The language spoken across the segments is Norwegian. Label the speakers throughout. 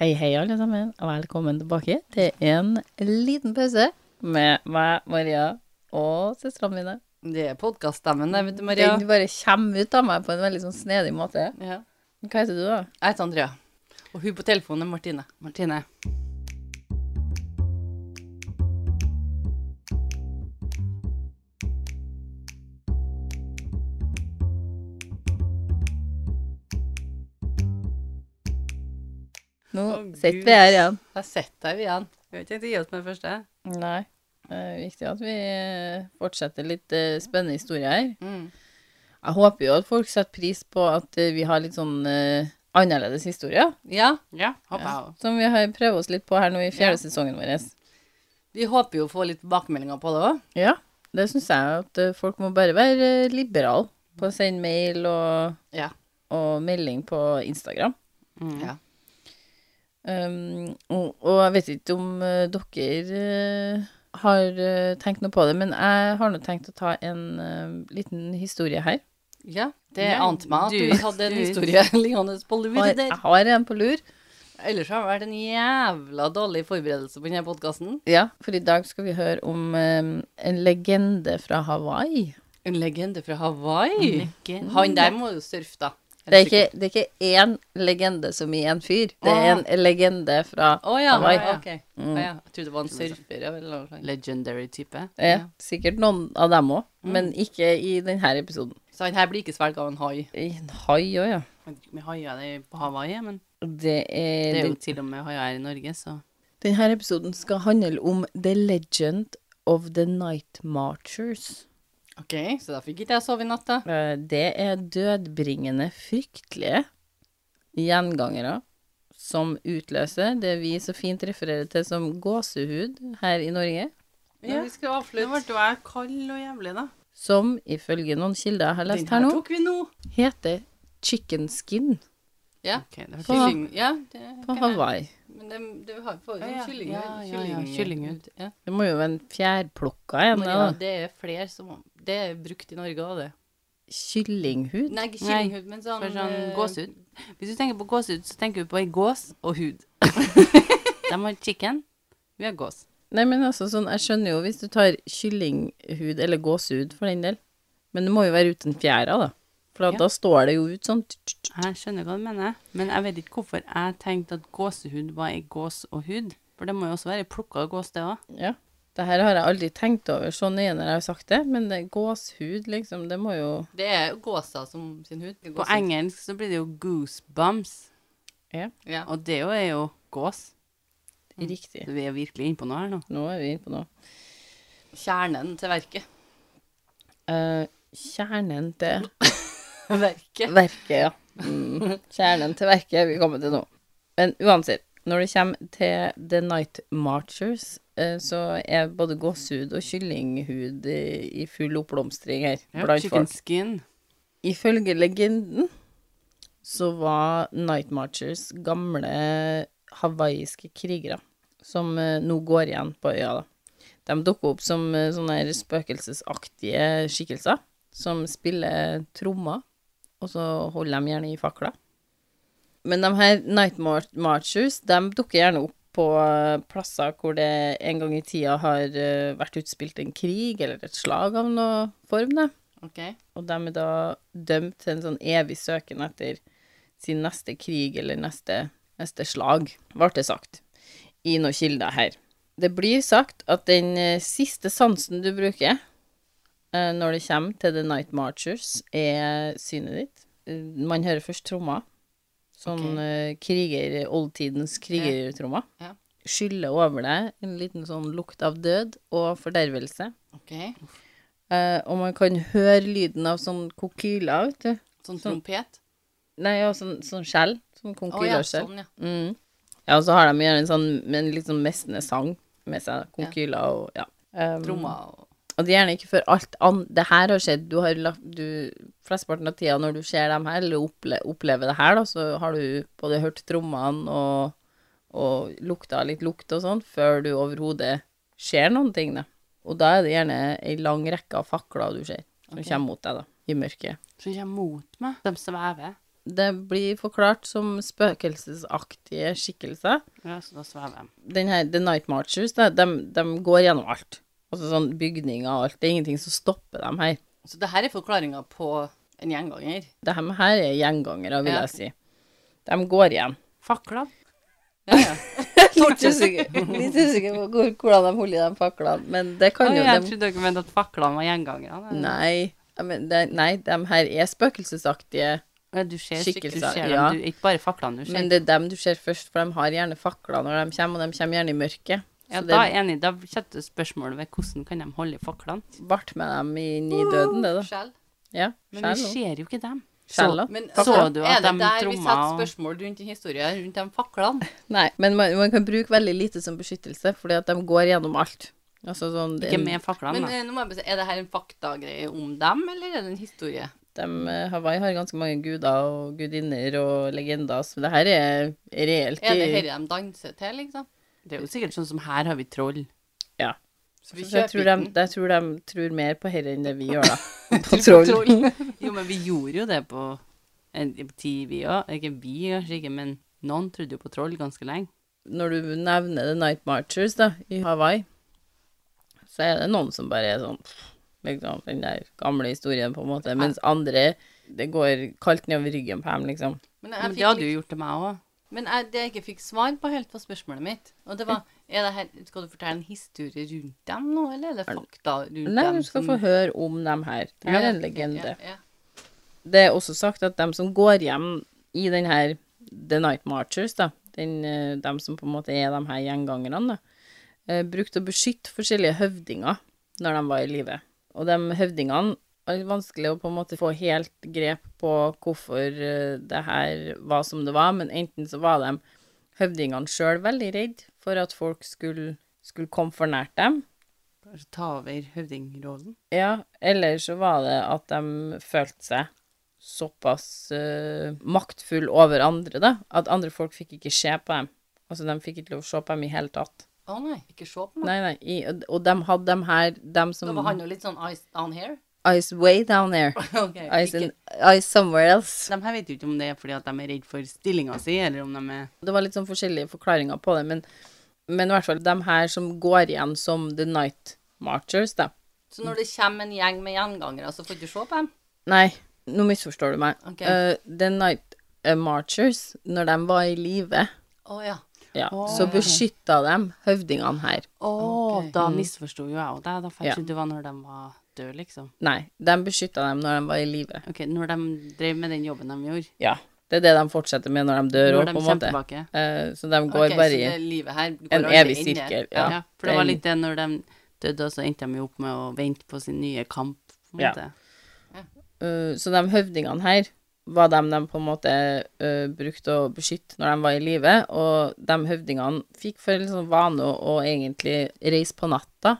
Speaker 1: Hei, hei, alle sammen, og velkommen tilbake til en liten pause med meg, Maria, og søstrene mine.
Speaker 2: Det er podkaststemmen, det, eh, vet du, Maria.
Speaker 1: Den bare kommer ut av meg på en veldig sånn snedig måte.
Speaker 2: Ja.
Speaker 1: Hva heter du, da?
Speaker 2: Jeg heter Andrea, og hun på telefonen er Martine. Martine.
Speaker 1: Nå
Speaker 2: Å,
Speaker 1: sitter
Speaker 2: Gud.
Speaker 1: vi her igjen.
Speaker 2: Der sitter vi igjen. Vi har ikke tenkt å gi oss med det første.
Speaker 1: Nei. Det er viktig at vi eh, fortsetter litt eh, spennende historier her.
Speaker 2: Mm.
Speaker 1: Jeg håper jo at folk setter pris på at eh, vi har litt sånn eh, annerledes historier,
Speaker 2: Ja,
Speaker 3: Ja.
Speaker 2: håper jeg også.
Speaker 1: som vi har prøvd oss litt på her nå i
Speaker 2: Ja.
Speaker 1: fjerde sesongen vår.
Speaker 2: Vi håper jo å få litt tilbakemeldinger på det òg.
Speaker 1: Ja, det syns jeg at eh, folk må bare være eh, liberal på å sende mail og,
Speaker 2: Ja. Mm.
Speaker 1: og melding på Instagram.
Speaker 2: Ja.
Speaker 1: Um, og, og jeg vet ikke om eh, dere eh, har eh, tenkt noe på det, men jeg har nå tenkt å ta en eh, liten historie her.
Speaker 2: ja. Det
Speaker 3: Ja,
Speaker 2: ante meg at
Speaker 3: du-
Speaker 2: du hadde en
Speaker 3: du-
Speaker 2: historie liggende på lur
Speaker 1: Har,
Speaker 2: der.
Speaker 1: jeg har en på lur.
Speaker 2: Ellers har det vært en jævla dårlig forberedelse på denne podkasten.
Speaker 1: Ja, for i dag skal vi høre om eh, en legende fra Hawaii.
Speaker 2: En legende fra Hawaii.
Speaker 3: Legende.
Speaker 2: Han der må jo surfe, da.
Speaker 1: Det er, ikke, det er ikke én legende som i én fyr. Det er en legende fra
Speaker 2: Å ja,
Speaker 1: Hawaii.
Speaker 2: ok.
Speaker 3: Mm.
Speaker 2: Å ja. Jeg trodde det var en surfer. ja, eller noe sånt.
Speaker 3: Legendary type.
Speaker 1: Ja, Eh, Mm. sikkert noen av dem òg, men ikke i denne episoden.
Speaker 2: Så han her blir ikke svelget av en hai.
Speaker 1: I En hai òg, ja.
Speaker 3: Jeg vet ikke om Vi haier det på Hawaii, men
Speaker 1: Det er,
Speaker 3: det er jo til og med haier i Norge, så
Speaker 1: Denne episoden skal handle om The Legend of the Night Marchers.
Speaker 2: Ok, så da fikk ikke jeg sove i natt, da.
Speaker 1: Eh, Det er dødbringende, fryktelige gjengangere som utløser det vi så fint refererer til som gåsehud her i Norge.
Speaker 2: Ja.
Speaker 3: vi skal avslutte. Nå ble jeg kald og jævlig, da.
Speaker 1: Som ifølge noen kilder jeg har lest her nå,
Speaker 2: tok vi nå.
Speaker 1: heter chicken skin
Speaker 2: Ja.
Speaker 3: Ok, det
Speaker 1: På-
Speaker 3: var
Speaker 2: Kylling. Ja, det
Speaker 1: på
Speaker 2: kan jeg-
Speaker 1: Hawaii.
Speaker 2: Men det- du har jo fått
Speaker 3: Ja, ja.
Speaker 2: sånn kylling.
Speaker 3: Ja, ja, ja, kyllingud.
Speaker 2: Ja.
Speaker 1: Det må jo være en fjærplukka en,
Speaker 2: Men
Speaker 1: da.
Speaker 2: ja, det er flere som Det er brukt i Norge òg, det.
Speaker 1: Kyllinghud?
Speaker 2: Nei, ikke kyllinghud, men sånn,
Speaker 3: for sånn
Speaker 2: eh,
Speaker 3: gåsehud. Hvis du tenker på gåsehud, så tenker du på ei gås og hud. De har chicken, vi har gås.
Speaker 1: Nei, men altså, sånn, jeg skjønner jo hvis du tar kyllinghud, eller gåsehud for den del, men det må jo være uten fjæra, da. For da-
Speaker 3: Ja.
Speaker 1: da står det jo ut sånn tsk, tsk, tsk.
Speaker 3: Jeg skjønner hva du mener, men jeg vet ikke hvorfor jeg tenkte at gåsehud var ei gås og hud. For det må jo også være plukka gås, det òg.
Speaker 1: Ja. Det her har jeg aldri tenkt over så nøye når jeg har sagt det, men det, gåshud, liksom, det må jo
Speaker 2: Det er gåsa som sin hud.
Speaker 3: På
Speaker 2: Gåsehud.
Speaker 3: engelsk så blir det jo goosebumps,
Speaker 2: Ja.
Speaker 3: og det jo er jo gås.
Speaker 1: Riktig.
Speaker 3: Så vi er virkelig inne på noe her nå.
Speaker 1: Nå er vi inne på noe.
Speaker 2: Kjernen til verket.
Speaker 1: Eh, kjernen til
Speaker 2: Verket.
Speaker 1: verket, ja. Mm. Kjernen til verket er vi kommer til nå. Men uansett, når det kommer til The Night Marchers, eh, så er både gåsehud og kyllinghud eh, i full oppblomstring her blant
Speaker 3: Chicken
Speaker 1: folk.
Speaker 3: skin.
Speaker 1: Ifølge legenden så var Night Marchers gamle hawaiiske krigere, som eh, nå går igjen på øya, da. De dukker opp som eh, sånne her spøkelsesaktige skikkelser, som spiller trommer, og så holder de gjerne i fakler. Men de her Night Mar Marchers, de dukker gjerne opp på eh, plasser hvor det en gang i tida har eh, vært utspilt en krig, eller et slag av noe form, da.
Speaker 2: Ok.
Speaker 1: Og de er da dømt til en sånn evig søken etter sin neste krig eller neste, neste slag, ble det sagt i noen kilder her. Det blir sagt at den eh, siste sansen du bruker eh, når det kommer til The Night Marchers, er synet ditt. Eh, Man hører først trommer. Sånn
Speaker 2: Ok.
Speaker 1: eh, kriger, oldtidens krigertrommer.
Speaker 2: Ja.
Speaker 1: Skyller over deg en liten sånn lukt av død og fordervelse.
Speaker 2: ok.
Speaker 1: Eh, og man kan høre lyden av sånn kokyler, vet du.
Speaker 2: Sånn trompet.
Speaker 1: Nei, ja, sånn, sånn skjell. Sånn
Speaker 2: Å ja,
Speaker 1: konkylerskjell.
Speaker 2: sånn, ja.
Speaker 1: Mm. Ja, og så har de gjerne en sånn med en litt sånn messende sang med seg. da. Konkyler og ja. Um,
Speaker 3: Mm.
Speaker 2: Trommer og
Speaker 1: Og det er gjerne ikke før alt annet Det her har skjedd. Du har lagt du, Flesteparten av tida når du ser dem her, eller opple, opplever det her, da, så har du både hørt trommene og, og lukta litt lukt og sånn, før du overhodet ser noen ting, da. Og da er det gjerne ei lang rekke av fakler du ser, som kommer mot deg, da, i mørket.
Speaker 3: som kommer mot meg. De svever.
Speaker 1: Det blir forklart som spøkelsesaktige skikkelser.
Speaker 3: Ja, så da svever jeg.
Speaker 1: Den her, The Night Marchers, da, dem- dem går gjennom alt. Altså sånn bygninger og alt. Det er ingenting som stopper dem her.
Speaker 2: Så det her er forklaringa på en gjenganger.
Speaker 1: Det her med her er gjengangere, vil
Speaker 2: Ja.
Speaker 1: jeg si. De går igjen.
Speaker 3: Fakler.
Speaker 2: Ja, ja.
Speaker 1: Litt usikker, litt usikker på hvor, hvordan de holder i de faklene, men det
Speaker 3: Oi,
Speaker 1: kan jo
Speaker 3: jeg
Speaker 1: dem-
Speaker 3: trodde dere mente at faklene var gjengangerne.
Speaker 1: Nei, jeg men det, nei, de her er spøkelsesaktige,
Speaker 3: Ja, Du ser skikkelser. Du
Speaker 1: Skikkelser,
Speaker 3: ser
Speaker 1: ja.
Speaker 3: dem. Du, ikke bare faklene du ser.
Speaker 1: men det er dem du ser først, for de har gjerne fakler når de kommer, og de kommer gjerne i mørket. Så
Speaker 3: ja, da
Speaker 1: det
Speaker 3: er jeg enig. Da setter du spørsmålet ved hvordan kan de holde i faklene.
Speaker 1: ble med dem inn i døden, det da.
Speaker 2: Skjell.
Speaker 1: Ja,
Speaker 3: Men vi
Speaker 1: skjell,
Speaker 3: ser jo ikke dem.
Speaker 1: skjella.
Speaker 2: Men
Speaker 3: Så
Speaker 2: så
Speaker 3: du
Speaker 2: er
Speaker 3: at
Speaker 2: det
Speaker 3: de
Speaker 2: der vi
Speaker 3: tromma
Speaker 2: setter
Speaker 3: og-
Speaker 2: spørsmål rundt den historien, rundt de faklene.
Speaker 1: Nei, men man, man kan bruke veldig lite som beskyttelse, fordi at de går gjennom alt. Altså sånn,
Speaker 3: Ikke
Speaker 1: en-
Speaker 3: med faklene,
Speaker 2: Men
Speaker 3: da.
Speaker 2: eh, nå må jeg bare si, er det her en faktagreie om dem, eller er det en historie?
Speaker 1: de, eh, Hawaii har ganske mange guder og gudinner og legender, så det her er reelt.
Speaker 2: Er det
Speaker 1: i-
Speaker 2: dette de danser til, liksom?
Speaker 3: Det er jo sikkert sånn som her har vi troll.
Speaker 1: Ja.
Speaker 2: Så vi
Speaker 1: Så jeg
Speaker 2: kjøper
Speaker 1: tror,
Speaker 2: ikke
Speaker 1: de,
Speaker 2: den.
Speaker 1: jeg tror de tror mer på herre enn det vi gjør, da. På
Speaker 3: Tror
Speaker 1: troll.
Speaker 3: på Jo, men vi gjorde jo det på en tid, vi òg. Ikke vi, kanskje ikke, men noen trodde jo på troll ganske lenge.
Speaker 1: Når du nevner The Night Marchers da, i Hawaii, så er det noen som bare er sånn pff, liksom, Den der gamle historien, på en måte. Mens andre Det går kaldt nedover ryggen på dem, liksom.
Speaker 2: Men, jeg
Speaker 3: Men
Speaker 2: fikk
Speaker 3: det hadde
Speaker 2: litt-
Speaker 3: jo gjort til meg òg.
Speaker 2: men jeg, det jeg ikke fikk svar på helt på spørsmålet mitt, og det var er det her, Skal du fortelle en historie rundt dem nå, eller er det fakta rundt
Speaker 1: Nei,
Speaker 2: dem?
Speaker 1: du skal få
Speaker 2: som-
Speaker 1: høre om dem her. Det her er en
Speaker 2: Ja,
Speaker 1: legende.
Speaker 2: ja.
Speaker 1: Det er også sagt at dem som går hjem i den her The Night Marchers, da, den, eh, dem som på en måte er de her gjengangerne, da, eh, brukte å beskytte forskjellige høvdinger når de var i live. Og de høvdingene er litt vanskelig å på en måte få helt grep på hvorfor eh, det her var som det var, men enten så var de høvdingene sjøl veldig redd for at folk skulle, skulle komme for nært dem,
Speaker 3: Kanskje ta over høvdingrollen.
Speaker 1: ja, eller så var det at de følte seg såpass eh, maktfull over andre, da, at andre folk fikk ikke se på dem. Altså, de fikk ikke lov å se på dem i hele tatt.
Speaker 2: Å nei, ikke se på meg.
Speaker 1: Nei, nei, i, og de hadde dem her, dem
Speaker 2: Da
Speaker 1: som
Speaker 2: var han jo litt sånn eyes on here.
Speaker 1: Eyes way down there.
Speaker 2: Ok,
Speaker 1: Eyes,
Speaker 2: ikke-
Speaker 1: in, eyes somewhere else.
Speaker 3: De her vet jo ikke om det er fordi at de er redd for stillinga si, eller om de er
Speaker 1: Det var litt sånn forskjellige forklaringer på det, men, men i hvert fall de her som går igjen som The Night Marchers, da.
Speaker 2: Så når det kommer en gjeng med gjengangere, så får du ikke se på dem?
Speaker 1: Nei, nå misforstår du meg.
Speaker 2: Ok.
Speaker 1: Eh, the Night eh, Marchers, når de var i live
Speaker 2: Å ja.
Speaker 1: Ja, så beskytta de høvdingene her.
Speaker 3: Å,
Speaker 2: Ok.
Speaker 3: da misforsto jo jeg òg deg, da, for jeg
Speaker 1: Ja.
Speaker 3: trodde det var når de var døde, liksom.
Speaker 1: Nei, de beskytta dem når de var i live.
Speaker 3: Ok, Når de drev med den jobben de gjorde.
Speaker 1: Ja, det er det de fortsetter med når de dør òg,
Speaker 3: Når de
Speaker 1: på en
Speaker 3: kommer
Speaker 1: måte.
Speaker 3: tilbake.
Speaker 1: Eh, så de går
Speaker 2: Ok,
Speaker 1: bare
Speaker 2: så det
Speaker 1: i
Speaker 2: livet her går
Speaker 1: en
Speaker 2: aldri
Speaker 1: evig
Speaker 2: ende.
Speaker 1: sirkel.
Speaker 3: Ja,
Speaker 1: Ja,
Speaker 3: for det var
Speaker 1: Den-
Speaker 3: litt det når de døde, og så endte de jo opp med å vente på sin nye kamp, på en
Speaker 1: Ja.
Speaker 3: måte.
Speaker 1: Eh, så de høvdingene her var dem de på en måte eh, brukte å beskytte når de var i live, og de høvdingene fikk for en sånn vane å, å egentlig reise på natta.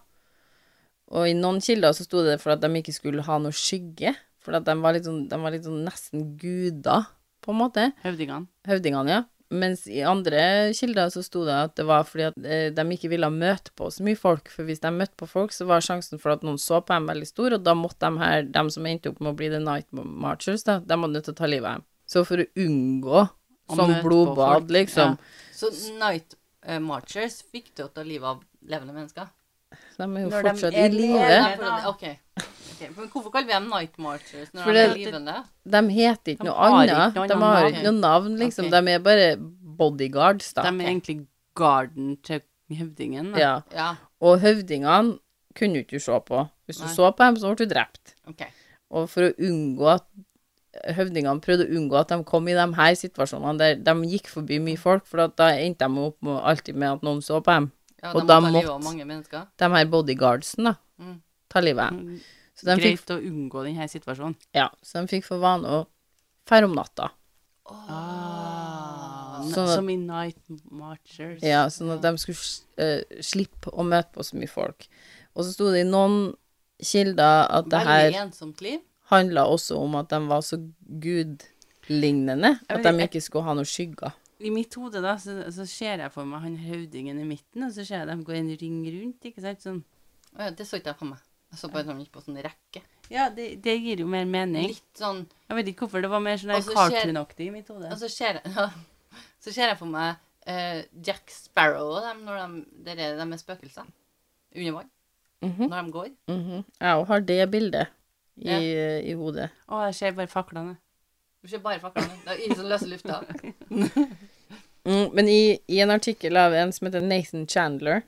Speaker 1: Og i noen kilder så sto det for at de ikke skulle ha noe skygge, for at de var litt sånn, de var litt sånn nesten guder, på en måte.
Speaker 3: Høvdingene.
Speaker 1: høvdingene, ja. Mens i andre kilder så sto det at det var fordi at eh, de ikke ville møte på så mye folk, for hvis de møtte på folk, så var sjansen for at noen så på dem veldig stor, og da måtte de her, de som endte opp med å bli The Night Marchers, da, de var nødt til å ta livet av dem. Så for å unngå
Speaker 3: Å
Speaker 1: sånn
Speaker 3: møte på folk,
Speaker 1: blodbad, liksom,
Speaker 2: Så Night eh, Marchers fikk du å ta livet av levende mennesker?
Speaker 1: de er jo
Speaker 3: Når de
Speaker 1: fortsatt
Speaker 3: er
Speaker 1: i live.
Speaker 3: levende.
Speaker 2: Ja, for det- ok. Ok, Men hvorfor kaller vi dem Night Marchers når
Speaker 1: For
Speaker 2: de er
Speaker 1: det-
Speaker 2: livende?
Speaker 1: De heter
Speaker 3: De
Speaker 1: ikke noe
Speaker 3: har ikke
Speaker 1: annet.
Speaker 3: noe
Speaker 1: De
Speaker 3: annet
Speaker 1: har
Speaker 3: navn.
Speaker 1: ikke noe navn, liksom.
Speaker 2: Ok.
Speaker 1: De er bare bodyguards, da.
Speaker 3: De er egentlig garden til høvdingen. Da.
Speaker 1: Ja.
Speaker 2: Ja,
Speaker 1: Og høvdingene kunne du ikke se på. Hvis du
Speaker 2: Nei.
Speaker 1: så på dem, så ble du drept.
Speaker 2: ok.
Speaker 1: Og for å unngå at høvdingene prøvde å unngå at de kom i de her situasjonene der de gikk forbi mye folk, for at da endte de opp med, alltid med at noen så på dem.
Speaker 2: Ja,
Speaker 1: Og
Speaker 2: de må
Speaker 1: da
Speaker 2: ta livet
Speaker 1: måtte-
Speaker 2: av mange mennesker.
Speaker 1: De her bodyguardsene, da.
Speaker 2: Mm.
Speaker 1: Ta livet av dem. Så de fikk,
Speaker 3: Greit å unngå denne situasjonen.
Speaker 1: ja, så de fikk for vane å ferde om natta.
Speaker 3: Ah,
Speaker 1: Sånn at-
Speaker 3: som i Night Marchers.
Speaker 1: Ja, sånn at de skulle eh, slippe å møte på så mye folk. Og så sto det i noen kilder at det her
Speaker 2: Veldig ensomt liv.
Speaker 1: handla også om at de var så gudlignende at de ikke skulle ha noen skygger.
Speaker 3: I mitt hode da, så, så ser jeg for meg han høvdingen i midten, og så ser jeg dem gå en ring rundt, ikke sant? Sånn.
Speaker 2: Å ja, Det så ikke jeg for meg. Jeg så bare at de gikk på sånn rekke.
Speaker 3: Ja, det, det gir jo mer mening.
Speaker 2: Litt sånn
Speaker 3: Jeg vet ikke hvorfor det var mer sånn der
Speaker 2: Og så skjer-
Speaker 3: cartoon-aktig i mitt hode.
Speaker 2: Og så ser jeg, så ser jeg for meg eh, Jack Sparrow og dem når de, det er, de er spøkelser. Under vann.
Speaker 1: Mhm.
Speaker 2: Når de går.
Speaker 1: Mhm. Jeg òg har det bildet i, i hodet.
Speaker 3: Å, jeg ser bare faklene.
Speaker 2: Du ser bare faklene. Det er ingen som løser lufta.
Speaker 1: Mm, men i, i en artikkel av en som heter Nathan Chandler,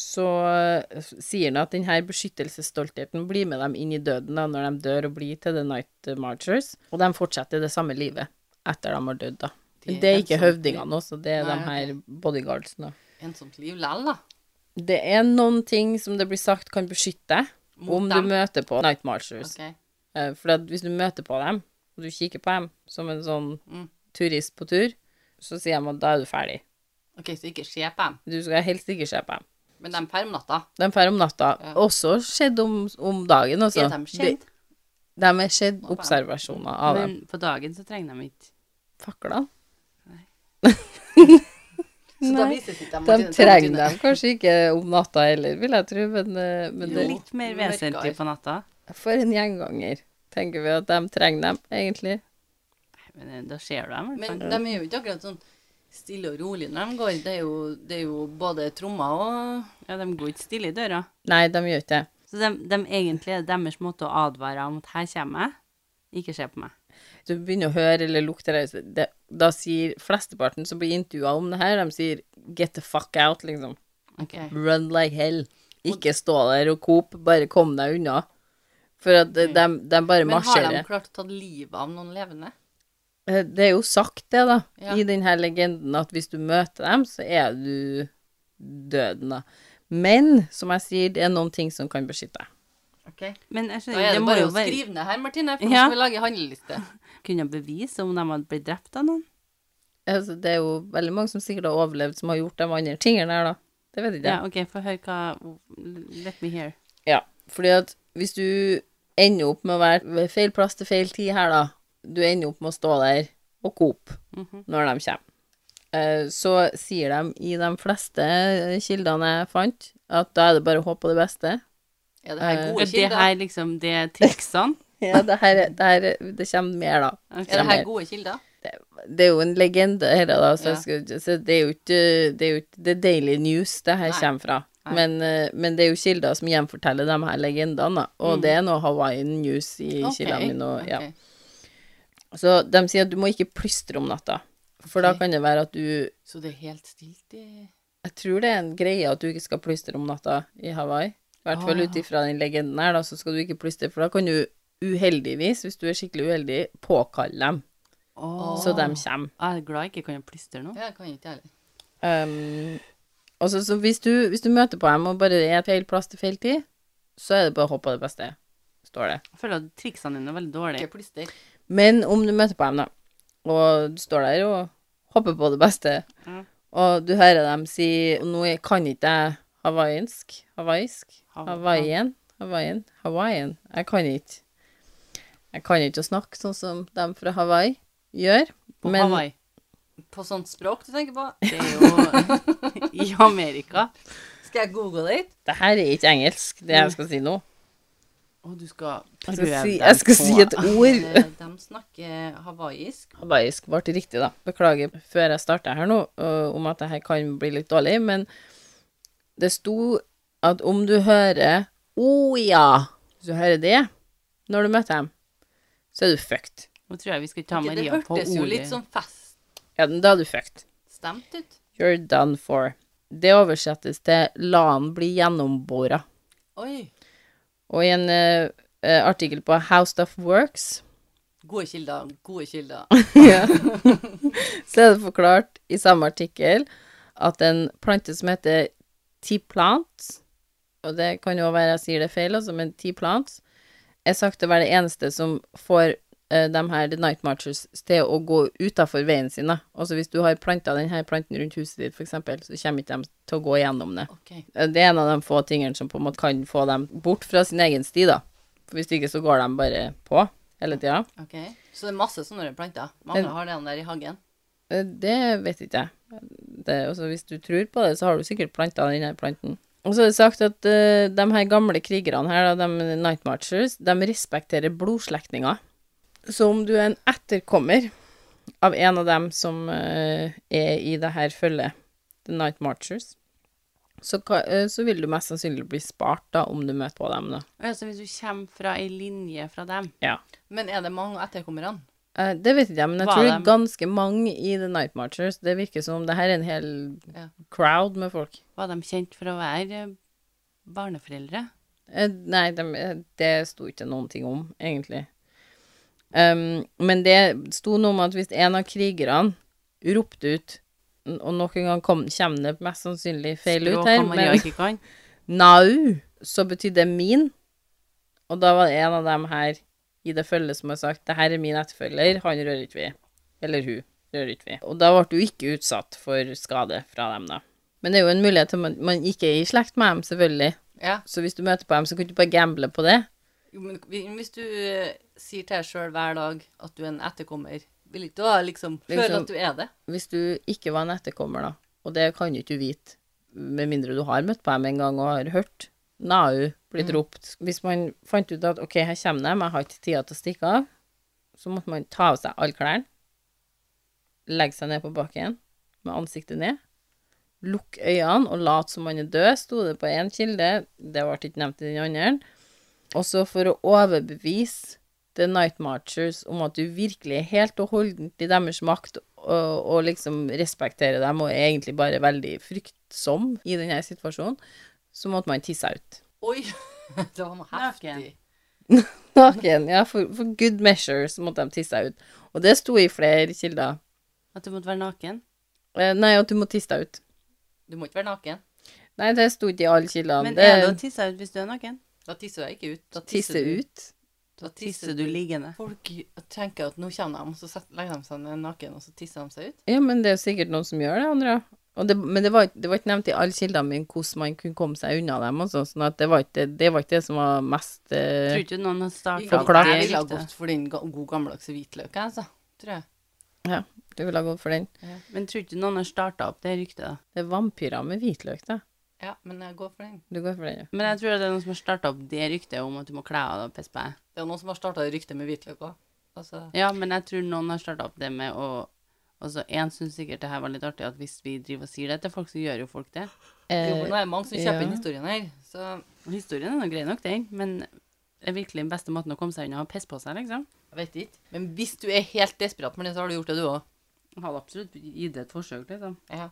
Speaker 1: så eh, sier han at denne beskyttelsesstoltheten blir med dem inn i døden da, når de dør og blir til The Night Marchers, og de fortsetter det samme livet etter de har dødd, da.
Speaker 2: Det er
Speaker 1: Det er ikke
Speaker 2: ensomt
Speaker 1: høvdingene også, det er
Speaker 2: Nei,
Speaker 1: de her bodyguardsene.
Speaker 2: Ensomt liv lell, da.
Speaker 1: Det er noen ting som det blir sagt kan beskytte deg,
Speaker 2: Mot
Speaker 1: om
Speaker 2: dem.
Speaker 1: du møter på Night Marchers.
Speaker 2: Ok.
Speaker 1: Eh, For at hvis du møter på dem, og du kikker på dem som en sånn
Speaker 2: Mm.
Speaker 1: turist på tur, så sier de at da er du ferdig.
Speaker 2: OK, så ikke se på dem.
Speaker 1: Du skal helst ikke se på dem.
Speaker 2: Men de drar om natta.
Speaker 1: De drar om natta.
Speaker 2: Ja.
Speaker 1: Også skjedd om, om dagen, altså.
Speaker 2: Er de kjent?
Speaker 1: De, de er skjedd observasjoner av dem.
Speaker 3: Men på dagen så trenger de ikke
Speaker 1: Faklene?
Speaker 2: Så da
Speaker 1: Nei.
Speaker 2: vises ikke
Speaker 1: De
Speaker 2: dem.
Speaker 1: trenger dem kanskje ikke om natta heller, vil jeg tro, men, eh, men
Speaker 2: Jo.
Speaker 1: det,
Speaker 3: Litt mer
Speaker 2: mørkere.
Speaker 3: vesentlig på natta.
Speaker 1: for en gjenganger. Tenker vi at de trenger dem, egentlig.
Speaker 3: Men eh, da ser du dem. i hvert
Speaker 2: Men
Speaker 3: fall.
Speaker 2: de er jo ikke akkurat sånn stille og rolig når de går. Det er jo, det er jo både trommer og
Speaker 3: Ja, de går ikke stille i døra.
Speaker 1: Nei, de gjør ikke det.
Speaker 3: Så de, de egentlig er deres måte å advare om at her kommer jeg, ikke se på meg.
Speaker 1: du begynner å høre eller lukte det, så det da sier flesteparten som blir intervjua om det her, de sier 'get the fuck out', liksom. Run like hell. Ikke stå der og coop, bare kom deg unna. For at de, de, de bare
Speaker 2: Mm. Men har de
Speaker 1: marsjerer.
Speaker 2: klart å ta livet av noen levende?
Speaker 1: Eh, Det er jo sagt, det, da,
Speaker 2: Ja.
Speaker 1: i denne legenden, at hvis du møter dem, så er du døden, da. Men som jeg sier, det er noen ting som kan beskytte deg.
Speaker 2: Ok.
Speaker 3: Men jeg
Speaker 2: Da
Speaker 3: skjønner,
Speaker 2: er
Speaker 3: det
Speaker 2: det
Speaker 3: må
Speaker 2: bare
Speaker 3: jo
Speaker 2: å
Speaker 3: være
Speaker 2: skrive ned her, Martine, for nå
Speaker 3: Ja.
Speaker 2: skal vi lage handleliste.
Speaker 3: kunne bevise om de hadde blitt drept av noen.
Speaker 1: Altså, det er jo veldig mange som sikkert har overlevd, som har gjort de andre tingene der, da. Det vet ikke jeg.
Speaker 3: Ja, OK, få høre hva Let me hear.
Speaker 1: Ja, fordi at hvis du ender opp med å være ved feil plass til feil tid her, da Du ender opp med å stå der og coop
Speaker 2: Mhm.
Speaker 1: når de kommer. Eh, Så sier de i de fleste eh, kildene jeg fant, at da er det bare å håpe på det beste.
Speaker 2: Er det her
Speaker 1: Eh,
Speaker 2: gode
Speaker 3: Er det
Speaker 2: kilder?
Speaker 3: her liksom det er triksene?
Speaker 1: Ja, det her, er- det, her er- det kommer mer, da.
Speaker 3: Ok.
Speaker 2: Er det her gode kilder?
Speaker 1: Det er jo en legende, her, da, så,
Speaker 2: Ja.
Speaker 1: jeg skal, ikke- så det er jo ikke Det er jo ikke The Daily News det her
Speaker 2: Nei.
Speaker 1: kommer fra.
Speaker 3: Nei.
Speaker 1: Men, eh, men det er jo kilder som gjenforteller de her legendene, da. Og det er noe Hawaiian News i
Speaker 2: Mm. Ok,
Speaker 1: kildene mine. Og, ja.
Speaker 2: ok.
Speaker 1: Så de sier at du må ikke plystre om natta. For da
Speaker 2: Ok.
Speaker 1: kan det være at du
Speaker 2: Så det er helt stilt i
Speaker 1: Jeg tror det er en greie at du ikke skal plystre om natta i Hawaii. I hvert fall
Speaker 2: Ah.
Speaker 1: ut ifra den legenden her, da, så skal du ikke plystre. For da kan du uheldigvis, hvis du er skikkelig uheldig, påkalle dem.
Speaker 3: Åh.
Speaker 1: Så de kommer.
Speaker 3: Jeg er glad jeg ikke kan plystre nå.
Speaker 2: Ja, jeg kan ikke jeg heller.
Speaker 1: Um, og så, så hvis, du, hvis du møter på dem og bare er feil plass til feil tid, så er det bare å håpe på det beste, står det.
Speaker 3: Jeg føler at triksene dine er veldig dårlige.
Speaker 2: Ikke plister.
Speaker 1: Men om du møter på dem, da, og du står der og håper på det beste,
Speaker 3: Mm.
Speaker 1: og du hører dem si Nå kan ikke jeg hawaiiansk Hawaiisk?
Speaker 3: Hav-
Speaker 1: Hawaiian? Hawaiian? Hawaiian. Jeg kan ikke Jeg kan ikke å snakke sånn som dem fra Hawaii gjør.
Speaker 3: På
Speaker 1: men-
Speaker 3: Hawaii.
Speaker 2: På sånt språk du tenker på?
Speaker 3: Det er jo i Amerika.
Speaker 2: Skal jeg google litt?
Speaker 1: Det her er ikke engelsk, det jeg skal si nå.
Speaker 3: Og du skal
Speaker 1: Jeg
Speaker 3: prøve
Speaker 1: skal si,
Speaker 3: deg
Speaker 1: jeg skal
Speaker 3: på-
Speaker 1: si et ord.
Speaker 2: Eh, De snakker hawaiisk.
Speaker 1: Hawaiisk ble riktig, da. Beklager før jeg starter her nå, øh, om at det her kan bli litt dårlig, men det sto at om du hører 'Å ja', hvis du hører det når du møter dem, så er du fucked.
Speaker 3: Nå tror jeg vi skal ta
Speaker 2: Ok, Det
Speaker 3: Maria på
Speaker 2: hørtes jo litt
Speaker 3: ordet.
Speaker 2: sånn feststemt
Speaker 1: Ja, da er du fucked.
Speaker 2: ut.
Speaker 1: You're done for. Det oversettes til 'la han bli gjennombora'.
Speaker 2: Oi.
Speaker 1: Og i en øh, øh, artikkel på How Stuff Works
Speaker 2: Gode kilder, gode kilder.
Speaker 1: Ja. Så er det forklart i samme artikkel at en plante som heter tiplant, og det kan jo være jeg sier det feil, altså, men tiplant, er sagt å være det eneste som får eh, de her The Night Marchers til å gå utafor veien sin. da. Altså hvis du har planta denne planten rundt huset ditt, f.eks., så kommer ikke de til å gå gjennom det.
Speaker 2: Ok.
Speaker 1: Eh, Det er en av de få tingene som på en måte kan få dem bort fra sin egen sti, da. For hvis ikke så går de bare på hele tida.
Speaker 2: ok. Så det er masse sånne planter. Mange
Speaker 1: Men-
Speaker 2: har den der i hagen.
Speaker 1: Eh, Det vet ikke jeg. Det, altså, hvis du tror på det, så har du sikkert planta denne planten. Og så er det sagt at eh, de her gamle krigerne her, da, de Night Marchers, de respekterer blodslektninger. Så om du er en etterkommer av en av dem som eh, er i det her følget, The Night Marchers, så, ka- eh, så vil du mest sannsynlig bli spart da, om du møter på dem da.
Speaker 3: Ja, så hvis du kommer fra ei linje fra dem
Speaker 1: Ja.
Speaker 2: Men er det mange etterkommerne?
Speaker 1: Eh, Det vet ikke jeg, men jeg
Speaker 3: Hva
Speaker 1: tror det
Speaker 3: er
Speaker 1: er ganske mange i The Night Marchers. Det virker som det her er en hel
Speaker 2: Ja.
Speaker 1: crowd med folk.
Speaker 3: Var de kjent for å være eh, barneforeldre?
Speaker 1: Eh, Nei, dem- eh, det sto ikke noen ting om, egentlig. Ehm, men det sto noe om at hvis en av krigerne ropte ut n- Og nok en gang kom, kommer det mest sannsynlig feil ut
Speaker 3: Språk
Speaker 1: her,
Speaker 3: og Maria
Speaker 1: men
Speaker 3: ikke kan.
Speaker 1: Nau, så betydde det min. Og da var det en av dem her i det følget som har sagt det her er min etterfølger, han rører ikke vi. Eller hun rører ikke vi. Og da ble du ikke utsatt for skade fra dem, da. Men det er jo en mulighet til at man, man ikke er i slekt med dem, selvfølgelig.
Speaker 2: Ja.
Speaker 1: Så hvis du møter på dem, så kan du ikke bare gamble på det.
Speaker 2: Jo, Men vi- hvis du eh, sier til deg sjøl hver dag at du er en etterkommer, vil ikke du da liksom føle
Speaker 1: Liksom-
Speaker 3: sånn-
Speaker 2: at du er det?
Speaker 1: Hvis du ikke var en etterkommer, da, og det kan jo ikke du vite, med mindre du har møtt på dem en gang og har hørt Nau blitt ropt Hvis man fant ut at OK, her kommer de, jeg har ikke tida til å stikke av, så måtte man ta av seg alle klærne, legge seg ned på bakken med ansiktet ned, lukke øynene og late som man er død, sto det på én kilde, det ble ikke nevnt i den andre. Og så for å overbevise The Night Marchers om at du virkelig er helt og holdent i deres makt, og, og liksom respekterer dem, og er egentlig bare veldig fryktsom i denne situasjonen, så måtte man tisse seg ut.
Speaker 2: Oi! Det var noe heftig.
Speaker 3: Naken.
Speaker 1: Naken, ja, for, for good measure så måtte de tisse seg ut. Og det sto i flere kilder.
Speaker 3: At du måtte være naken?
Speaker 1: Eh, Nei, at du må tisse deg ut.
Speaker 2: Du må ikke være naken.
Speaker 1: Nei, det sto ikke i alle kildene.
Speaker 3: Men er det å tisse ut hvis du er naken?
Speaker 2: Da tisser jeg ikke ut. Da
Speaker 1: tisse
Speaker 2: du.
Speaker 1: ut?
Speaker 2: Da
Speaker 3: Tisser du liggende?
Speaker 2: Folk tenker at nå kommer de, og så setter- legger de seg ned naken, og så tisser de seg ut.
Speaker 1: Ja, men det er jo sikkert noen som gjør det, Andrea. Og det, men det var, ikke- det var ikke nevnt i alle kildene mine hvordan man kunne komme seg unna dem. og sånn, sånn at det var ikke det, var ikke det som var mest eh,
Speaker 3: Tror ikke noen har starta
Speaker 1: Forklart.
Speaker 2: Jeg ville ha gått for den ga- god gammeldagse hvitløk, jeg, altså. Tror jeg.
Speaker 1: Du ville ha gått for den.
Speaker 3: Men tror ikke noen har starta opp det ryktet, da.
Speaker 1: Det er vampyrer med hvitløk, da.
Speaker 2: Ja, men jeg går for den.
Speaker 1: Du går for den, ja.
Speaker 3: Men jeg tror det er noen som har starta opp det ryktet om at du må kle av deg og pisse på deg.
Speaker 2: Det er noen som har starta ryktet med hvitløk òg. Altså,
Speaker 3: Ja, men jeg tror noen har starta opp det med å Altså, én syns sikkert det her var litt artig, at hvis vi driver og sier det til folk, så gjør jo folk det.
Speaker 2: jo, men
Speaker 1: Eh,
Speaker 2: det er mange som kjøper inn
Speaker 1: ja.
Speaker 2: historien her, så
Speaker 3: Og historien er nå grei nok, den, men det er virkelig den beste måten å komme seg unna og pisse på seg, liksom.
Speaker 2: jeg vet ikke. Men hvis du er helt desperat med det, så har du gjort det, du òg.
Speaker 3: Jeg hadde absolutt gitt det et forsøk, liksom.
Speaker 2: Ja.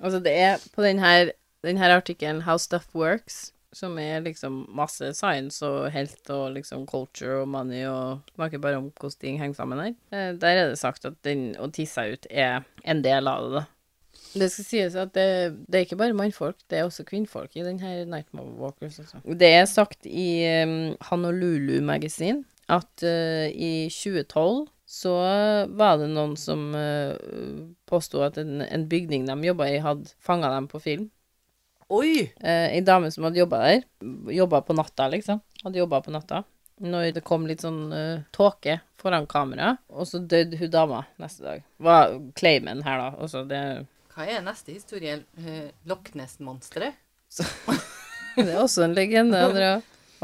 Speaker 1: altså, det er på den her, den her artikkelen How Stuff Works, som er liksom masse science og helt og liksom culture og money og snakker bare om hvordan ting henger sammen her. Eh, der er det sagt at den å tisse seg ut er en del av det, da. Det skal sies at det, det er ikke bare mannfolk, det er også kvinnfolk i denne Nightmare Walkers. altså. Også. Det er sagt i um, Hanolulu Magazine at eh, i 2012 så var det noen som uh, påsto at en, en bygning de jobba i, hadde fanga dem på film.
Speaker 2: Oi!
Speaker 1: Eh, Ei dame som hadde jobba der, jobba på natta, liksom. Hadde jobba på natta. Når det kom litt sånn eh, tåke foran kameraet, og så døde hun dama neste dag. Var claimen her, da. Altså, det
Speaker 2: Hva er neste historie? Eh, Loch Ness-monsteret?
Speaker 1: Det er også en legende, Andrea.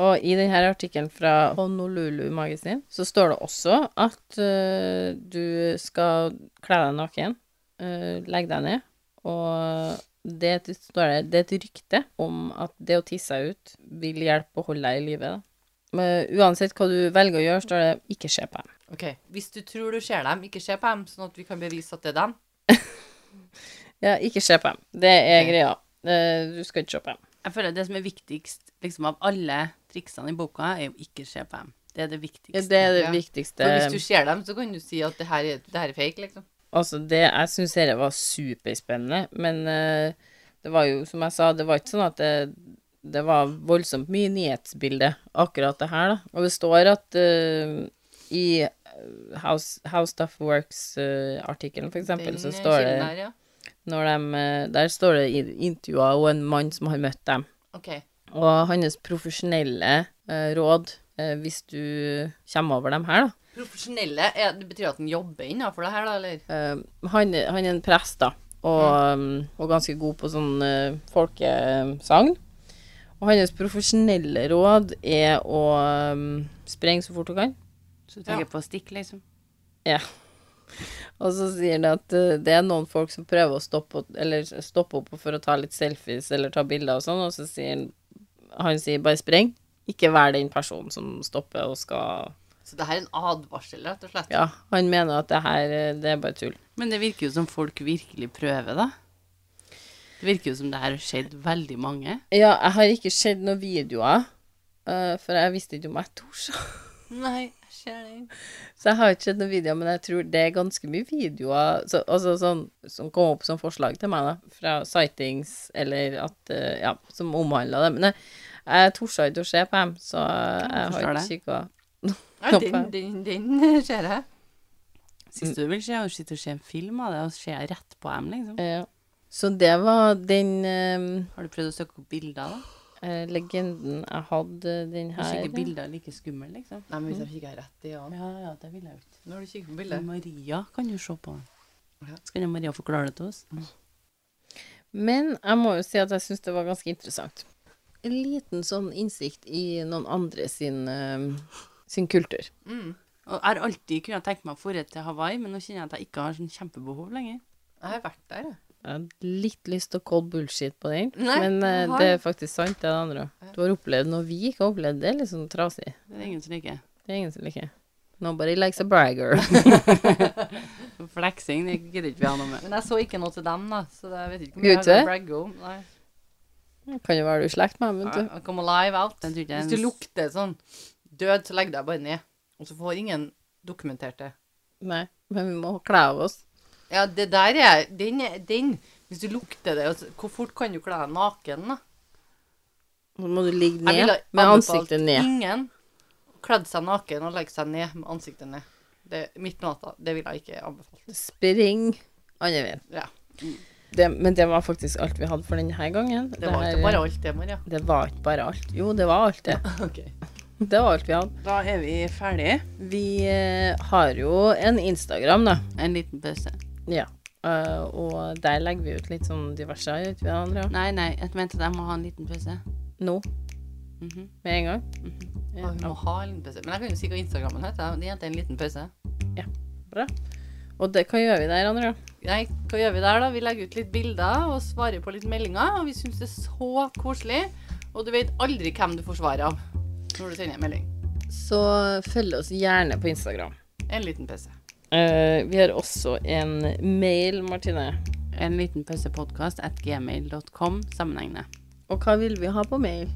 Speaker 1: Og i denne artikkelen fra Honolulu Magasin så står det også at eh, du skal kle deg naken, eh, legge deg ned, og det, er et- står det, det er et rykte om at det å tisse seg ut vil hjelpe å holde deg i live. da. Men uansett hva du velger å gjøre, står det 'ikke se på dem'.
Speaker 2: OK. Hvis du tror du ser dem, ikke se på dem, sånn at vi kan bevise at det er dem.
Speaker 1: Ja, ikke se på dem. Det er
Speaker 2: Ok.
Speaker 1: greia. Eh, du skal ikke se på dem.
Speaker 3: Jeg føler at det som er viktigst liksom, av alle triksene i boka, er jo ikke se på dem. Det er det
Speaker 1: Ja,
Speaker 3: viktigste.
Speaker 1: Det er det
Speaker 2: Ja.
Speaker 1: viktigste.
Speaker 2: For hvis du ser dem, så kan du si at det her er, det her er fake, liksom.
Speaker 1: Altså, det, jeg syns dette var superspennende, men eh, det var jo, som jeg sa, det var ikke sånn at det, det var voldsomt mye nyhetsbilde, akkurat det her, da. Og det står at eh, i eh, House, How Stuff Works-artikkelen, for eksempel,
Speaker 2: Den,
Speaker 1: så
Speaker 2: eh,
Speaker 1: står det
Speaker 2: kilden Der, ja.
Speaker 1: når de, eh, Der står det i- intervjuer og en mann som har møtt dem.
Speaker 2: OK.
Speaker 1: Og hans profesjonelle eh, råd, eh, hvis du kommer over dem her, da,
Speaker 2: Profesjonelle, er, det betyr at den jobber innenfor det her, da, eller?
Speaker 1: Eh, han, han er en prest, da, og, um, og ganske god på sånn eh, folkesagn. Og hans profesjonelle råd er å um, sprenge så fort hun kan.
Speaker 3: Så du tenker på å stikke, liksom.
Speaker 1: Og så sier han at eh, det er noen folk som prøver å stoppe, opp- eller stoppe opp for å ta litt selfies eller ta bilder og sånn, og så sier han Han sier bare spreng. Ikke vær den personen som stopper og skal
Speaker 2: Så det her er en advarsel, rett og slett.
Speaker 1: Ja, han mener at det her, eh, det er bare tull.
Speaker 3: Men det virker jo som folk virkelig prøver, da. Det virker jo som det her har skjedd veldig mange.
Speaker 1: Ja, jeg har ikke sett noen videoer, eh, for jeg visste ikke om jeg torde.
Speaker 2: Nei, jeg ser den.
Speaker 1: Så jeg har ikke sett noen videoer, men jeg tror det er ganske mye videoer så, altså sånn, som kom opp som forslag til meg, da, fra sightings eller at eh, Ja, som omhandla det. Men jeg, jeg torde ikke å se på dem, så jeg har ikke
Speaker 3: forstår det.
Speaker 1: kikka.
Speaker 2: Ja, den, den, den ser jeg.
Speaker 3: Sist du vil se, er jo å sitte og se en film av det, og se rett på dem, liksom.
Speaker 1: Ja. Så det var den eh,
Speaker 3: Har du prøvd å søke opp bilder, da?
Speaker 1: eh, legenden jeg hadde, den her
Speaker 3: Kanskje ikke bilder er like skumle, liksom.
Speaker 2: Nei, men hvis jeg kikker rett i øynene
Speaker 3: Ja, ja, det vil jeg jo ikke.
Speaker 2: Når du kikker på
Speaker 3: Men
Speaker 2: bildet
Speaker 3: Maria kan jo se på den.
Speaker 2: Ja.
Speaker 3: Så kan jo Maria forklare det til oss.
Speaker 1: Men jeg må jo si at jeg syns det var ganske interessant. En liten sånn innsikt i noen andre sin, eh, sin kultur.
Speaker 2: mm.
Speaker 3: Og jeg har alltid kunnet tenke meg å dra til Hawaii, men nå kjenner jeg at jeg ikke har sånn kjempebehov lenger.
Speaker 2: Jeg har vært der, jeg.
Speaker 1: Jeg hadde litt lyst til å call bullshit på den,
Speaker 2: Nei,
Speaker 1: men eh,
Speaker 2: har-
Speaker 1: det er faktisk sant, det er det andre. også. Du har opplevd noe vi ikke har opplevd. Det er litt sånn trasig.
Speaker 3: Det er det ingen som liker.
Speaker 1: Det er ingen som liker. Nobody likes a bragger.
Speaker 3: Flexing, det gidder ikke vi ha noe med.
Speaker 2: Men jeg så ikke noe til dem, da. Så jeg vet ikke om
Speaker 1: Gjorde
Speaker 2: jeg
Speaker 1: du det?
Speaker 2: har bragg om. Nei.
Speaker 1: kan jo være du er i slekt med meg,
Speaker 2: I
Speaker 1: vet du.
Speaker 2: I come alive out.
Speaker 3: Den tror ikke jeg
Speaker 2: Hvis du
Speaker 3: ens-
Speaker 2: lukter sånn død, så legg deg bare ned. Og så får ingen dokumentert det.
Speaker 1: Nei, men vi må kle av oss.
Speaker 2: Ja, det der er Den, er- den Hvis du lukter det altså, Hvor fort kan du kle deg naken, da?
Speaker 1: Så må du ligge
Speaker 2: Jeg
Speaker 1: ned
Speaker 2: ville
Speaker 1: med
Speaker 2: anbefalt
Speaker 1: ansiktet ned.
Speaker 2: Ingen kledd seg naken og legge seg ned med ansiktet ned. Det, midt på natta. Det ville jeg ikke anbefalt.
Speaker 1: Spring andre veien.
Speaker 2: Ja.
Speaker 1: Det- Men det var faktisk alt vi hadde for denne gangen.
Speaker 2: Det var
Speaker 1: her-
Speaker 2: ikke bare alt det, Maria.
Speaker 1: Det var ikke bare alt. Jo, det var alt, det. Det var alt vi hadde.
Speaker 3: Da er vi ferdige.
Speaker 1: Vi eh, har jo en Instagram, da.
Speaker 3: En liten pause.
Speaker 1: Ja. Eh, og der legger vi ut litt sånn diverse, gjør ikke vi det, Andrea?
Speaker 3: Nei, nei, jeg mente at jeg må ha en liten pause.
Speaker 1: Nå,
Speaker 3: Mhm.
Speaker 1: med en gang.
Speaker 2: Ja, vi må ha en liten pause. Men jeg kan jo si hva Instagrammen heter. Det heter en liten pause.
Speaker 1: Og det, hva gjør vi der, Andrea?
Speaker 2: Nei, hva gjør vi der, da? Vi legger ut litt bilder og svarer på litt meldinger. Og vi syns det er så koselig. Og du vet aldri hvem du får svar av når du sender en melding.
Speaker 1: Så følg oss gjerne på Instagram.
Speaker 2: En liten pause.
Speaker 1: Eh, vi har også en mail, Martine.
Speaker 3: En liten pause podcast at gmail.com sammenhengende.
Speaker 1: Og hva vil vi ha på mail?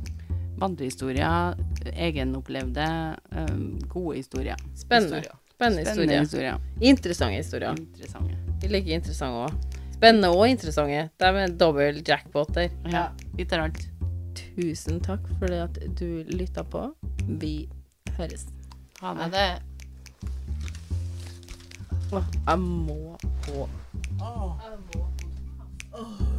Speaker 3: Vandrehistorier, egenopplevde, øhm, gode historier.
Speaker 1: Spennende.
Speaker 2: Historier.
Speaker 1: Spennende
Speaker 3: Spennende
Speaker 1: historier.
Speaker 3: historier.
Speaker 1: Interessante historier.
Speaker 3: Interessante.
Speaker 1: Vi liker interessante òg. Spennende og interessante. De er dobbel jackpot der.
Speaker 3: Ja, vi tar alt.
Speaker 1: Tusen takk for det at du lytta på. Vi høres.
Speaker 3: Ha
Speaker 2: Ja,
Speaker 3: det.
Speaker 2: det
Speaker 1: Åh, Jeg må på.
Speaker 2: Jeg må-